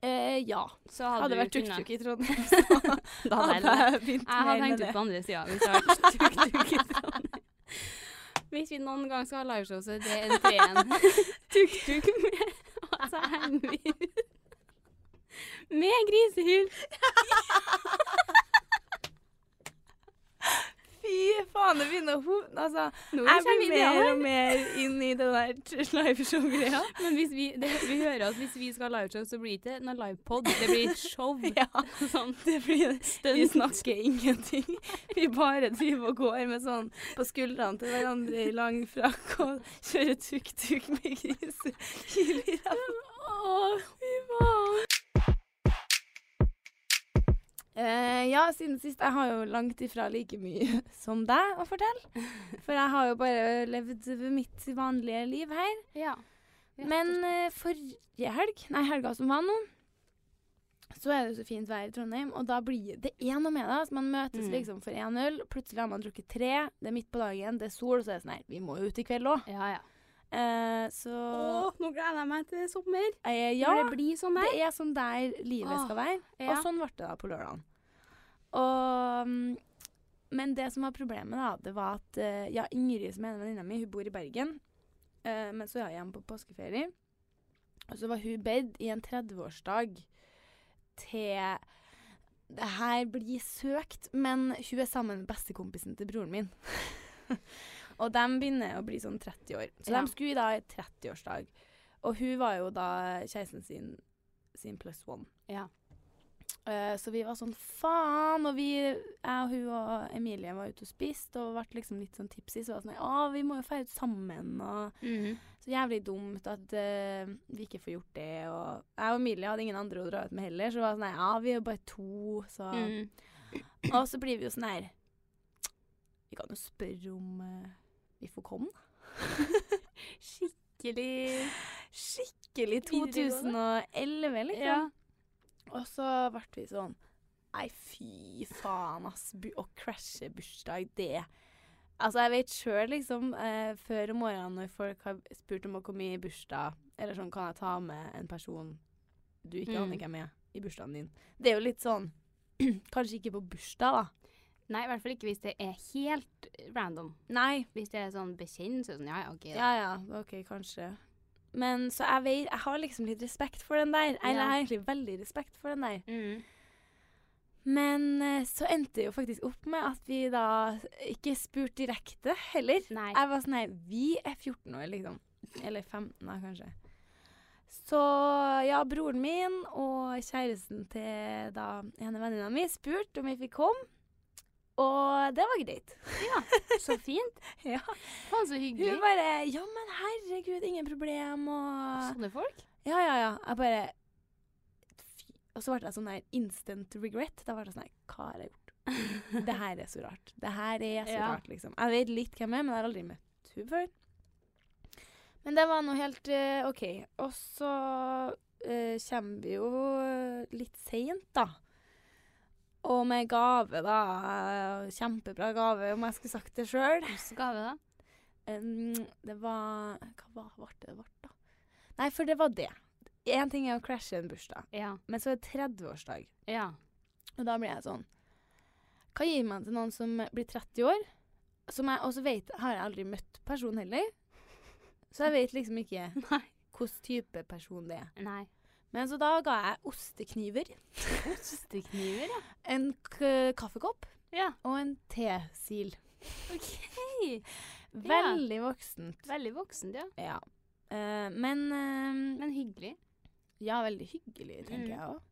S1: Eh, ja.
S2: så hadde,
S1: Hadde det
S2: du
S1: vært
S2: kunnet-
S1: tuk-tuk i Trondheim, så
S2: Da hadde jeg
S1: hadde jeg begynt
S2: Jeg hadde
S1: mer
S2: hengt
S1: med
S2: ut
S1: det.
S2: på andre sida hvis jeg hadde vært tuk-tuk i Trondheim. Hvis vi noen gang skal ha liveshow, så er det entreen. Tuk-tuk med Og så henger vi ut. Med grisehyl.
S1: Fy faen, det begynner å hovne. Altså,
S2: Nå
S1: jeg
S2: kommer
S1: blir
S2: ideer.
S1: mer og mer inn i det der liveshow-greia.
S2: Men hvis vi, det, vi hører at hvis vi skal ha liveshow, så blir det ikke noe livepod, det blir et show.
S1: Ja,
S2: Sånn
S1: det blir det. Vi
S2: stunt.
S1: snakker ingenting. Vi bare driver og går med sånn på skuldrene til hverandre i lang frakk og kjører tuk-tuk med grisehyl i ræva.
S2: Å, fy faen.
S1: Eh, ja, siden sist. Jeg har jo langt ifra like mye som deg å fortelle. For jeg har jo bare levd mitt vanlige liv her.
S2: Ja. Rett og
S1: Men eh, forrige helg, nei helga som var nå, så er det jo så fint vær i Trondheim, og da blir det er noe med det. Altså, man møtes
S2: Mm.
S1: liksom for én øl, plutselig har man drukket tre, det er midt på dagen, det er sol, og så er det sånn her, vi må jo ut i kveld òg.
S2: Ja, ja.
S1: Eh, så
S2: nå gleder jeg meg til sommer.
S1: eh, ja,
S2: Ja. Når det blir sånn
S1: det
S2: der.
S1: er sånn der livet
S2: Åh,
S1: skal være.
S2: Ja.
S1: Og sånn ble det da på lørdagen. Og, mm, men det som var problemet, da, det var at eh, ja, Ingrid, som er en venninne mi, hun bor i Bergen. eh, men så er jeg hjemme på påskeferie. Og så var hun bedt i en 30-årsdag til Det her blir søkt, men hun er sammen med bestekompisen til broren min. og de begynner å bli sånn 30 år. Så
S2: Ja.
S1: de skulle da i 30-årsdag. Og hun var jo da kjæresten sin, sin plus one.
S2: Ja.
S1: Eh, så vi var sånn faen, og vi, jeg og hun og Emilie var ute og spiste og ble liksom litt sånn tipsy. Så var det sånn Å, vi må jo feire ut sammen, og
S2: Mhm.
S1: så jævlig dumt at eh, vi ikke får gjort det. Og jeg og Emilie hadde ingen andre å dra ut med heller, så det var sånn her, Ja, vi er jo bare to, så
S2: Mhm.
S1: Og så blir vi jo sånn her Vi kan jo spørre om eh, vi får komme.
S2: Skikkelig
S1: Skikkelig
S2: Videregående.
S1: 2011, liksom.
S2: Ja.
S1: Og så ble vi sånn Nei, fy faen, ass. Bu å crashe bursdag, det Altså, jeg vet sjøl, liksom, eh, før om morgenen når folk har spurt om å komme i bursdag, eller sånn, kan jeg ta med en person du ikke
S2: Mm.
S1: aner hvem er, i bursdagen din? Det er jo litt sånn Kanskje ikke på bursdag, da.
S2: Nei, i hvert fall ikke hvis det er helt random.
S1: Nei.
S2: Hvis det er sånn bekjent, så er det sånn ja, ja, OK. Da.
S1: Ja ja, OK, kanskje. Men så jeg vet Jeg har liksom litt respekt for den der. Eller jeg
S2: Ja.
S1: har egentlig veldig respekt for den der.
S2: Mhm.
S1: Men eh, så endte det jo faktisk opp med at vi da ikke spurte direkte heller.
S2: Nei.
S1: Jeg var sånn her Vi er 14 år, liksom. Eller 15, da, kanskje. Så ja, broren min og kjæresten til da ene venninna mi spurte om vi fikk komme. Og det var greit.
S2: Så fint.
S1: Ja.
S2: Faen, så hyggelig.
S1: Hun bare Ja, men herregud, ingen problem, og
S2: Sånne folk.
S1: Ja, ja, ja. Jeg bare Fy. Og så ble jeg sånn der instant regret. Da ble jeg sånn her Hva har jeg gjort? Det her er så rart. Det her er så
S2: Ja.
S1: rart, liksom. Jeg vet litt hvem jeg er, men jeg har aldri møtt hun før. Men det var nå helt eh, OK. Og så eh, kommer vi jo litt seint, da. Og med gave, da. Eh, Kjempebra gave, om jeg skulle sagt det sjøl.
S2: Hvilken gave, da?
S1: Um, det var Hva var ble det det ble, da? Nei, for det var det. Én ting er å crashe en bursdag,
S2: Ja.
S1: men så er det 30-årsdag.
S2: ja.
S1: Og da blir jeg sånn Hva gir man til noen som blir 30 år? Som jeg også vet Har jeg aldri møtt personen heller. Så jeg vet liksom ikke
S2: Nei.
S1: hvilken type person det er.
S2: Nei.
S1: Men så da ga jeg ostekniver,
S2: Ostekniver, ja.
S1: en k kaffekopp
S2: ja.
S1: og en tesil.
S2: OK.
S1: Veldig voksent.
S2: Veldig voksent, ja.
S1: Ja. Eh, men eh,
S2: Men hyggelig.
S1: Ja, veldig hyggelig, tenker
S2: Mm.
S1: jeg òg.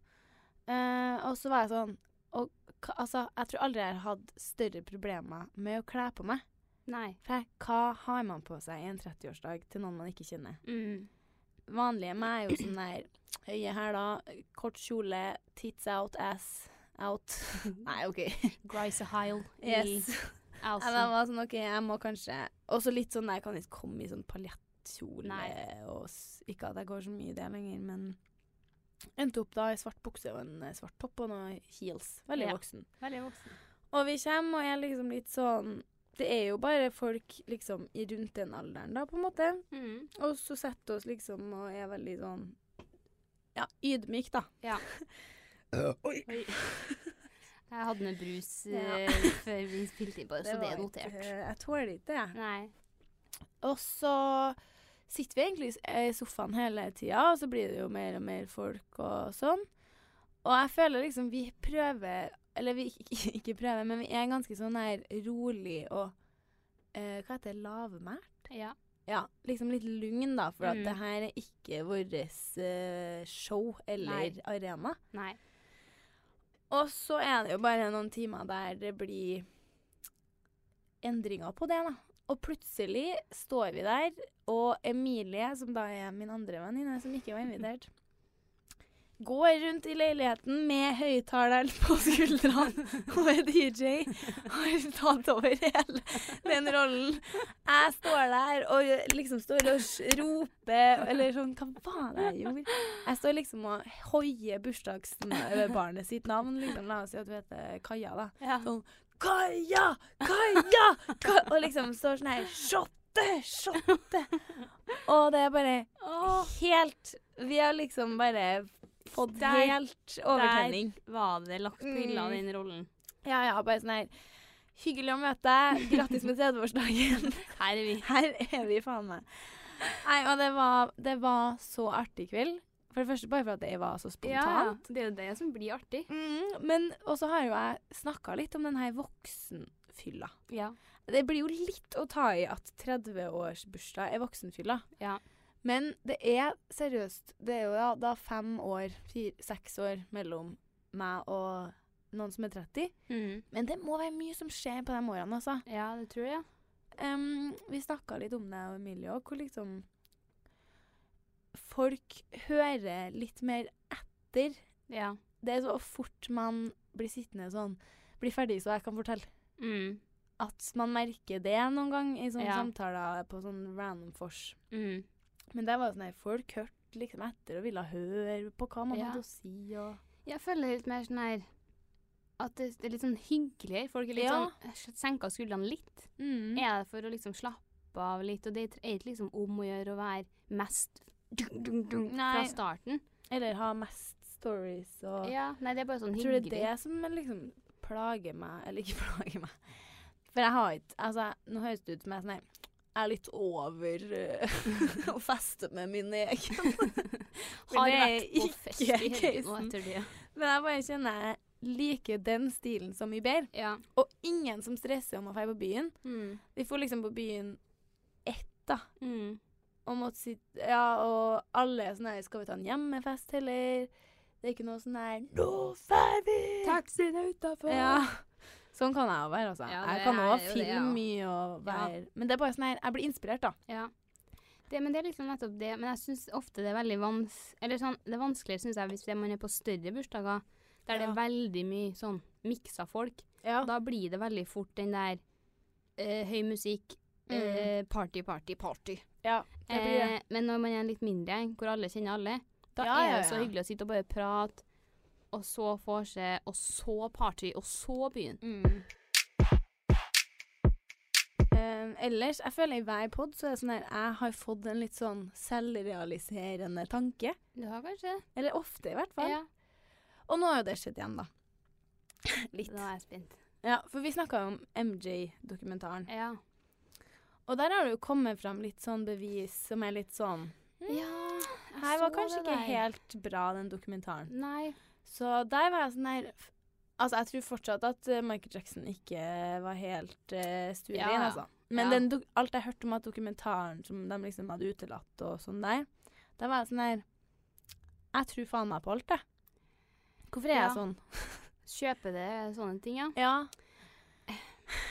S1: Eh, og så var jeg sånn og, hva- altså, Jeg tror aldri jeg har hatt større problemer med å kle på meg.
S2: Nei.
S1: For jeg, hva har man på seg i en 30-årsdag til noen man ikke kjenner?
S2: Mm.
S1: Vanlige meg er jo sånn der høye hæler, kort kjole, tits out, ass out. Nei, OK.
S2: Grise Heil
S1: Yes.
S2: i
S1: Ja, men jeg
S2: Alsen.
S1: var sånn, OK, jeg må kanskje Og så litt sånn der, jeg kan ikke komme i sånn paljettkjole
S2: Nei.
S1: og s- Ikke at jeg går så mye i det lenger, men endte opp da i svart bukse og en eh, svart topp og noen heels. Veldig
S2: Ja.
S1: voksen.
S2: Veldig voksen.
S1: Og vi kommer og er liksom litt sånn Det er jo bare folk liksom i rundt den alderen, da, på en måte.
S2: Mm.
S1: Og så setter oss liksom og er veldig sånn Ja, ydmyk, da.
S2: Ja.
S1: Oi.
S2: Oi. Jeg hadde med brus
S1: Ja.
S2: eh, før vi spilte inn på det, så det
S1: var
S2: er notert.
S1: Ikke, eh, jeg tåler ikke det, jeg.
S2: Nei.
S1: Og så sitter vi egentlig s- eh, i sofaen hele tida, og så blir det jo mer og mer folk og sånn. Og jeg føler liksom vi prøver Eller vi ikke, ikke prøver, men vi er ganske sånn her rolig og eh, Hva heter det? Lavmælt?
S2: Ja.
S1: Ja, liksom litt lugn, da, for at
S2: Mm.
S1: det her er ikke vårt eh, show eller
S2: Nei.
S1: arena.
S2: Nei.
S1: Og så er det jo bare noen timer der det blir endringer på det, da. Og plutselig står vi der, og Emilie, som da er min andre venninne, som ikke var invitert, går rundt i leiligheten med høyttaleren på skuldrene og er DJ. Og har tatt over hele den rollen. Jeg står der og liksom står og s- roper, eller sånn Hva var det jeg gjorde? Jeg står liksom og hoier bursdagsbarnet sitt navn. Liksom, la oss si at du heter Kaja, da.
S2: Ja.
S1: Kaja! Kaja! Ka og liksom står sånn her Shotte! Shotte! Og det er bare
S2: Åh,
S1: helt Vi har liksom bare fått
S2: Der-
S1: helt overtenning.
S2: var det lagt på hylla,
S1: Mm.
S2: den rollen.
S1: Ja, ja, bare sånn her Hyggelig å møte deg. Grattis med 30-årsdagen.
S2: Her er vi.
S1: Her er vi, faen meg. Nei, og det var, det var så artig kveld. For det første bare for at det var så spontant.
S2: Det er jo det som blir artig.
S1: Mm, men og så har jo jeg snakka litt om den her voksenfylla.
S2: Ja.
S1: Det blir jo litt å ta i at 30-årsbursdag er voksenfylla.
S2: Ja.
S1: Men det er seriøst Det er jo da, da fem år, fire, seks år mellom meg og noen som er 30. Men det må være mye som skjer på de årene, altså.
S2: Mm. Ja, det tror jeg.
S1: Em, vi snakka litt om det, jeg og Emilie òg, hvor liksom Folk hører litt mer etter
S2: Ja.
S1: det er så fort man blir sittende sånn Blir ferdig, så jeg kan fortelle.
S2: Mm.
S1: At man merker det noen gang i sånne
S2: Ja.
S1: samtaler på sånn random fors.
S2: Mm.
S1: Men det var sånn her, folk hørte liksom etter og ville høre på hva man
S2: Ja.
S1: hadde å si og
S2: Jeg føler litt mer sånn her at det, det er litt sånn hyggeligere. Folk er litt
S1: Ja.
S2: sånn senka skuldrene litt.
S1: mm.
S2: Er det for å liksom slappe av litt? Og det er ikke liksom om å gjøre å være mest dung, dung, dung, fra
S1: Nei.
S2: starten.
S1: Eller ha mest stories og
S2: Ja, nei, det er bare sånn
S1: Jeg tror det
S2: hyggelig.
S1: er det som liksom plager meg Eller ikke plager meg. For jeg har ikke Altså, nå høres det ut som jeg er sånn her, jeg er litt over eh, å feste med min egen.
S2: Har
S1: det er
S2: vært på
S1: ikke
S2: fest i helgen nå
S1: casen.
S2: etter det.
S1: Men jeg bare kjenner jeg liker den stilen så mye bedre.
S2: Ja.
S1: Og ingen som stresser om å dra på byen.
S2: Mm.
S1: Vi får liksom på byen ett, da.
S2: Mm.
S1: Og, måtte sitte, ja, og alle er sånn her Skal vi ta en hjemmefest, eller? Det er ikke noe sånn her Nå drar vi!
S2: Taxien er utafor!
S1: Ja. Sånn kan jeg jo være, altså.
S2: Ja,
S1: jeg
S2: det
S1: kan
S2: er
S1: òg
S2: jo det,
S1: filme
S2: ja.
S1: mye og være Men det er bare sånn her Jeg blir inspirert, da.
S2: Ja. Det, men det er liksom nettopp det. Men jeg syns ofte det er veldig vans... Eller sånn, det er vanskeligere, syns jeg, hvis det- man er på større bursdager, der det
S1: Ja.
S2: er veldig mye sånn miksa folk.
S1: Ja.
S2: Da blir det veldig fort den der eh, høy musikk,
S1: Mm.
S2: eh, party, party, party.
S1: ja. Det blir det.
S2: Eh, men når man er litt mindre, hvor alle kjenner alle, da
S1: Ja,
S2: er
S1: ja,
S2: det så
S1: ja.
S2: hyggelig å sitte og bare prate, og så vorse, og så party, og så byen.
S1: Mm. Eh, ellers, jeg føler i hver pod så er det sånn her Jeg har fått en litt sånn selvrealiserende tanke.
S2: Du har kanskje det?
S1: Eller ofte, i hvert fall.
S2: Ja.
S1: Og nå har jo det skjedd igjen, da. Litt.
S2: Da er jeg spent.
S1: Ja, for vi snakka jo om MJ-dokumentaren.
S2: Ja.
S1: Og der har det jo kommet fram litt sånn bevis som er litt sånn
S2: ja jeg
S1: Her var
S2: så
S1: kanskje
S2: det
S1: ikke
S2: der.
S1: helt bra, den dokumentaren.
S2: Nei.
S1: Så der var jeg sånn her f- Altså, jeg tror fortsatt at eh, Michael Jackson ikke eh, var helt uh, stuerein,
S2: Ja, ja.
S1: altså. Men
S2: Ja.
S1: den dok- alt jeg hørte om at dokumentaren som de liksom hadde utelatt og sånn der, da var jeg sånn her Jeg tror faen meg på alt, jeg. Hvorfor er
S2: Ja.
S1: jeg sånn?
S2: Kjøpe det, sånne ting, ja.
S1: Ja.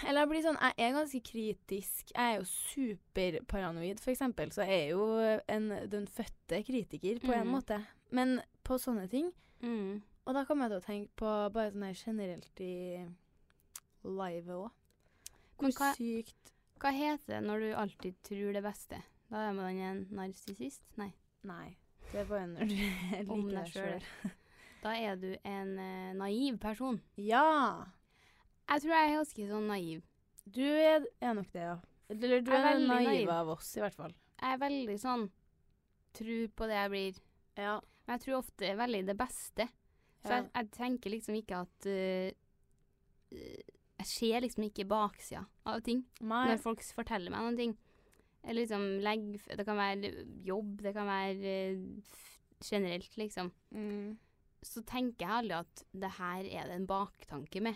S1: Eller jeg blir sånn Jeg er ganske kritisk. Jeg er jo superparanoid, for eksempel. Så jeg er jo en, den fødte kritiker, på en
S2: Mhm.
S1: måte. Men på sånne ting
S2: Mm.
S1: og da kommer jeg til å tenke på bare sånn her generelt i livet òg.
S2: Men
S1: Hvor
S2: hva,
S1: sykt
S2: hva heter det når du alltid tror det beste? Da er man en narsissist? Nei.
S1: Nei, det er bare når du
S2: Om
S1: liker deg
S2: deg
S1: sjøl.
S2: selv. Da er du en eh, naiv person.
S1: Ja!
S2: Jeg tror jeg er ganske sånn naiv.
S1: Du er, er nok det, ja. Eller du
S2: Jeg
S1: er,
S2: er veldig
S1: den naive
S2: naiv.
S1: av oss, i hvert fall.
S2: Jeg er veldig sånn Tror på det jeg blir.
S1: Ja.
S2: Men jeg tror ofte er veldig det beste. Så
S1: ja.
S2: jeg, jeg tenker liksom ikke at eh, eh, Jeg ser liksom ikke baksida av ting.
S1: Nei.
S2: Når folk s- forteller meg noen ting. Eller liksom legg, f- Det kan være jobb, det kan være eh, f- generelt, liksom.
S1: Mm.
S2: Så tenker jeg aldri at det her er det en baktanke med.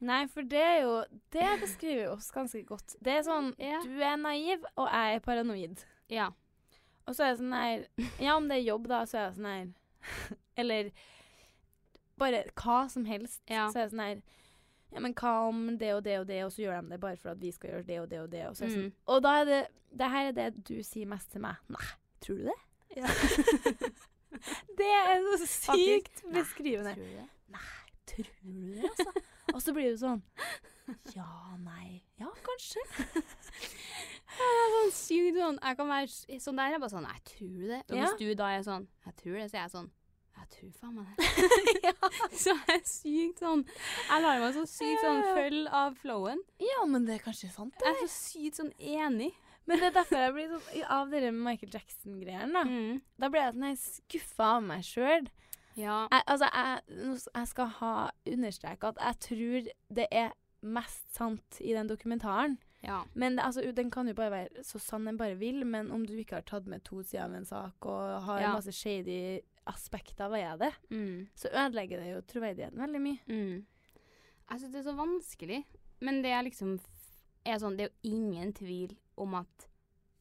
S1: Nei, for det er jo Det beskriver jo oss ganske godt. Det er sånn
S2: Ja.
S1: Du er naiv, og jeg er paranoid.
S2: Ja.
S1: Og så er jeg sånn her Ja, om det er jobb, da, så er jeg sånn her Eller bare hva som helst.
S2: Ja.
S1: Så er jeg sånn her Ja, men hva om det og det og det, og så gjør de det bare for at vi skal gjøre det og det og det. Og, så er jeg sånn,
S2: Mm.
S1: og da er det Det her er det du sier mest til meg. Nei, tror du det? det er så sykt
S2: Faktisk. Nei,
S1: beskrivende.
S2: Tror du det?
S1: Tror du det, altså? Og så blir du sånn Ja, nei Ja, kanskje.
S2: Jeg er sånn sykt sånn Jeg kan være s- sånn der. Jeg er bare sånn Jeg tror du det. Og
S1: Ja.
S2: hvis du da er sånn Jeg tror det, så er jeg sånn Jeg tror faen meg det. Så jeg er sykt sånn Jeg lar meg så sykt sånn
S1: Ja, ja.
S2: følge av flowen.
S1: Ja, men det er kanskje sant,
S2: Jeg er så sykt sånn enig.
S1: Men det er derfor jeg blir sånn Av dere Michael Jackson-greiene, da.
S2: Mm.
S1: Da ble jeg sånn her skuffa av meg sjøl.
S2: Ja.
S1: Altså, jeg, nå s- jeg skal ha understreke at jeg tror det er mest sant i den dokumentaren.
S2: Ja.
S1: Men det, altså, den kan jo bare være så sann den bare vil, men om du ikke har tatt med to sider av en sak og har
S2: Ja.
S1: masse shady aspekter ved det,
S2: Mm.
S1: så ødelegger det jo troverdigheten veldig mye.
S2: Mm. Jeg syns det er så vanskelig. Men det er liksom f- er sånn, det er jo ingen tvil om at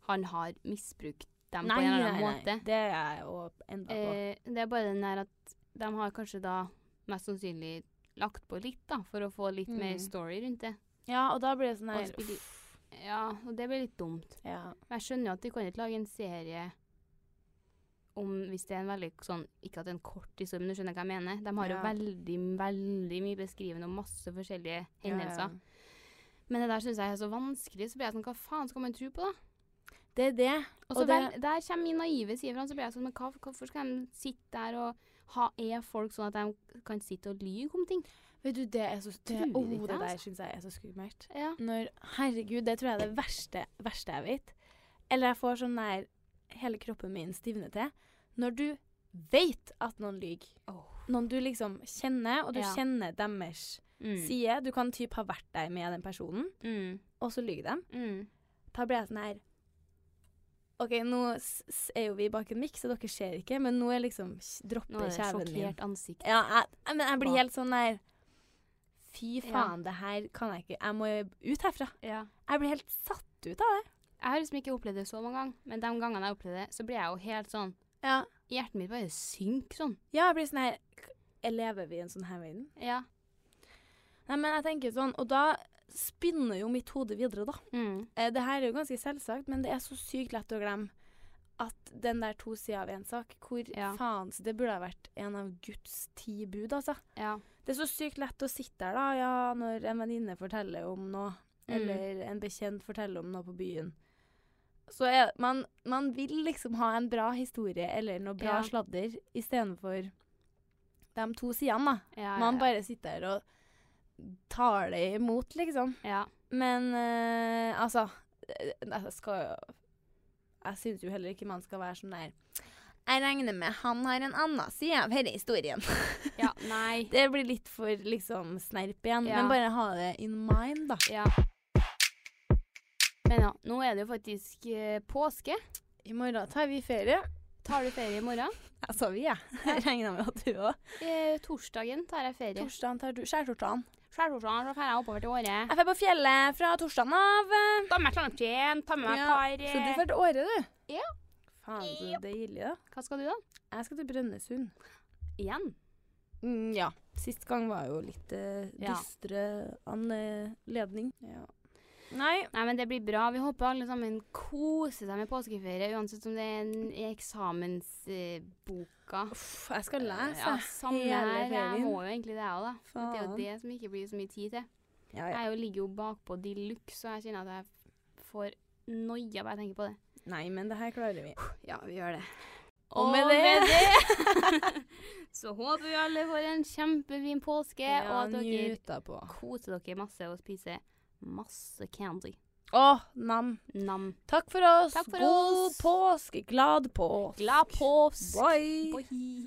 S2: han har misbrukt dem på en eller annen måte.
S1: det er jeg jo enda på.
S2: Eh, det er bare den der at de har kanskje da mest sannsynlig lagt på litt, da, for å få litt mer
S1: Mm.
S2: story rundt det.
S1: ja, og da blir det sånn
S2: og
S1: her
S2: spille-
S1: uff,
S2: Ja, og det blir litt dumt.
S1: ja.
S2: Men jeg skjønner jo at de kan ikke lage en serie om Hvis det er en veldig sånn Ikke at det er en kort historie, men du skjønner hva jeg mener. De har jo
S1: Ja.
S2: veldig, veldig mye beskrivende om masse forskjellige
S1: ja, ja.
S2: hendelser. Men det der syns jeg er så vanskelig. Så blir jeg sånn Hva faen skal man tro på, da?
S1: Det er det. Og
S2: Og så
S1: det-
S2: vel, der kommer min naive side fram. Så blir jeg sånn, men hva, hvorfor skal de sitte der og ha, Er folk sånn at de kan sitte og lyve om ting?
S1: Vet du, det er så det,
S2: Tror
S1: oh,
S2: ikke
S1: det
S2: det,
S1: der
S2: altså.
S1: syns jeg er så skummelt.
S2: Ja.
S1: Når Herregud, det tror jeg er det verste, verste jeg vet. Eller jeg får sånn der Hele kroppen min stivner til. Når du veit at noen lyver. Noen du liksom kjenner, og du
S2: Ja.
S1: kjenner deres
S2: Mm.
S1: side. Du kan typ ha vært der med den personen,
S2: Mm.
S1: og så lyver de.
S2: Mm.
S1: Da blir jeg sånn her OK, nå s s er jo vi bak en mikk, så dere ser ikke, men nå er liksom
S2: Nå
S1: dropper
S2: er det
S1: kjeven min.
S2: sjokkert ansikt.
S1: Ja, jeg, jeg- men jeg blir
S2: Hva?
S1: helt sånn der Fy
S2: Ja.
S1: faen, det her kan jeg ikke Jeg må ut herfra.
S2: Ja.
S1: Jeg blir helt satt ut av det.
S2: Jeg har liksom ikke opplevd det så mange ganger, men de gangene jeg opplevde det, så blir jeg jo helt sånn
S1: Ja,
S2: Hjertet mitt bare synker sånn.
S1: jeg blir sånn her k- jeg Lever vi i en sånn her verden?
S2: Ja.
S1: Nei, men jeg tenker sånn Og da spinner jo mitt hode videre, da.
S2: Mm.
S1: Eh, det her er jo ganske selvsagt, men det er så sykt lett å glemme at den der to sider av én sak Hvor
S2: Ja.
S1: faen så Det burde ha vært en av Guds ti bud, altså.
S2: ja.
S1: Det er så sykt lett å sitte der, da, ja, når en venninne forteller om noe,
S2: Mm.
S1: eller en bekjent forteller om noe på byen. Så er, man, man vil liksom ha en bra historie eller noe bra
S2: Ja.
S1: sladder istedenfor de to sidene, da.
S2: Ja, ja,
S1: Man
S2: ja.
S1: bare sitter der og tar det imot, liksom.
S2: ja.
S1: Men eh, altså eh, Jeg skal jo Jeg syns jo heller ikke man skal være sånn der Jeg regner med han har en annen side av denne historien.
S2: ja. Nei.
S1: Det blir litt for liksom snerp igjen.
S2: Ja.
S1: Men bare ha det in mind, da.
S2: Ja. Men ja, nå er det jo faktisk eh, påske.
S1: I morgen tar vi ferie.
S2: Tar du ferie i morgen?
S1: Altså vi, ja. Jeg regner med at du òg.
S2: Eh, torsdagen tar jeg ferie.
S1: Torsdagen tar du skjærtorsdagen.
S2: Skjærtorsdagen så drar jeg oppover til Åre.
S1: Jeg drar på fjellet fra torsdagen av.
S2: Ta med meg slangen, ta med meg
S1: Ja,
S2: par
S1: Så du
S2: eh,
S1: drar til Åre, du?
S2: Ja.
S1: Faen, så deilig, da.
S2: Hva skal du, da?
S1: Jeg skal til Brønnøysund.
S2: Igjen?
S1: Mm, ja. Sist gang var jo litt eh,
S2: Ja.
S1: dystre anledning. Ja. Nei.
S2: Nei, men det blir bra. Vi håper alle sammen koser seg med påskeferie, uansett om det er en- i eksamensboka.
S1: Uff, jeg skal lese.
S2: Ja, samme
S1: hele
S2: her. Jeg
S1: ferien.
S2: må jo egentlig det, jeg òg, da.
S1: Faen.
S2: Det er jo det som ikke blir så mye tid til.
S1: Ja, ja.
S2: Jeg er jo- ligger jo bakpå de luxe, så jeg kjenner at jeg får noia bare jeg tenker på det.
S1: Nei, men det her klarer vi.
S2: Ja, vi gjør det.
S1: Og med det-
S2: det- så håper vi alle får en kjempefin påske, og at dere
S1: njuta på.
S2: koser dere masse og spiser masse candy.
S1: Å, nam.
S2: Nam.
S1: Takk for oss.
S2: Takk for
S1: God
S2: oss.
S1: påske. Glad påske.
S2: Glad påsk!
S1: Bye.
S2: Bye.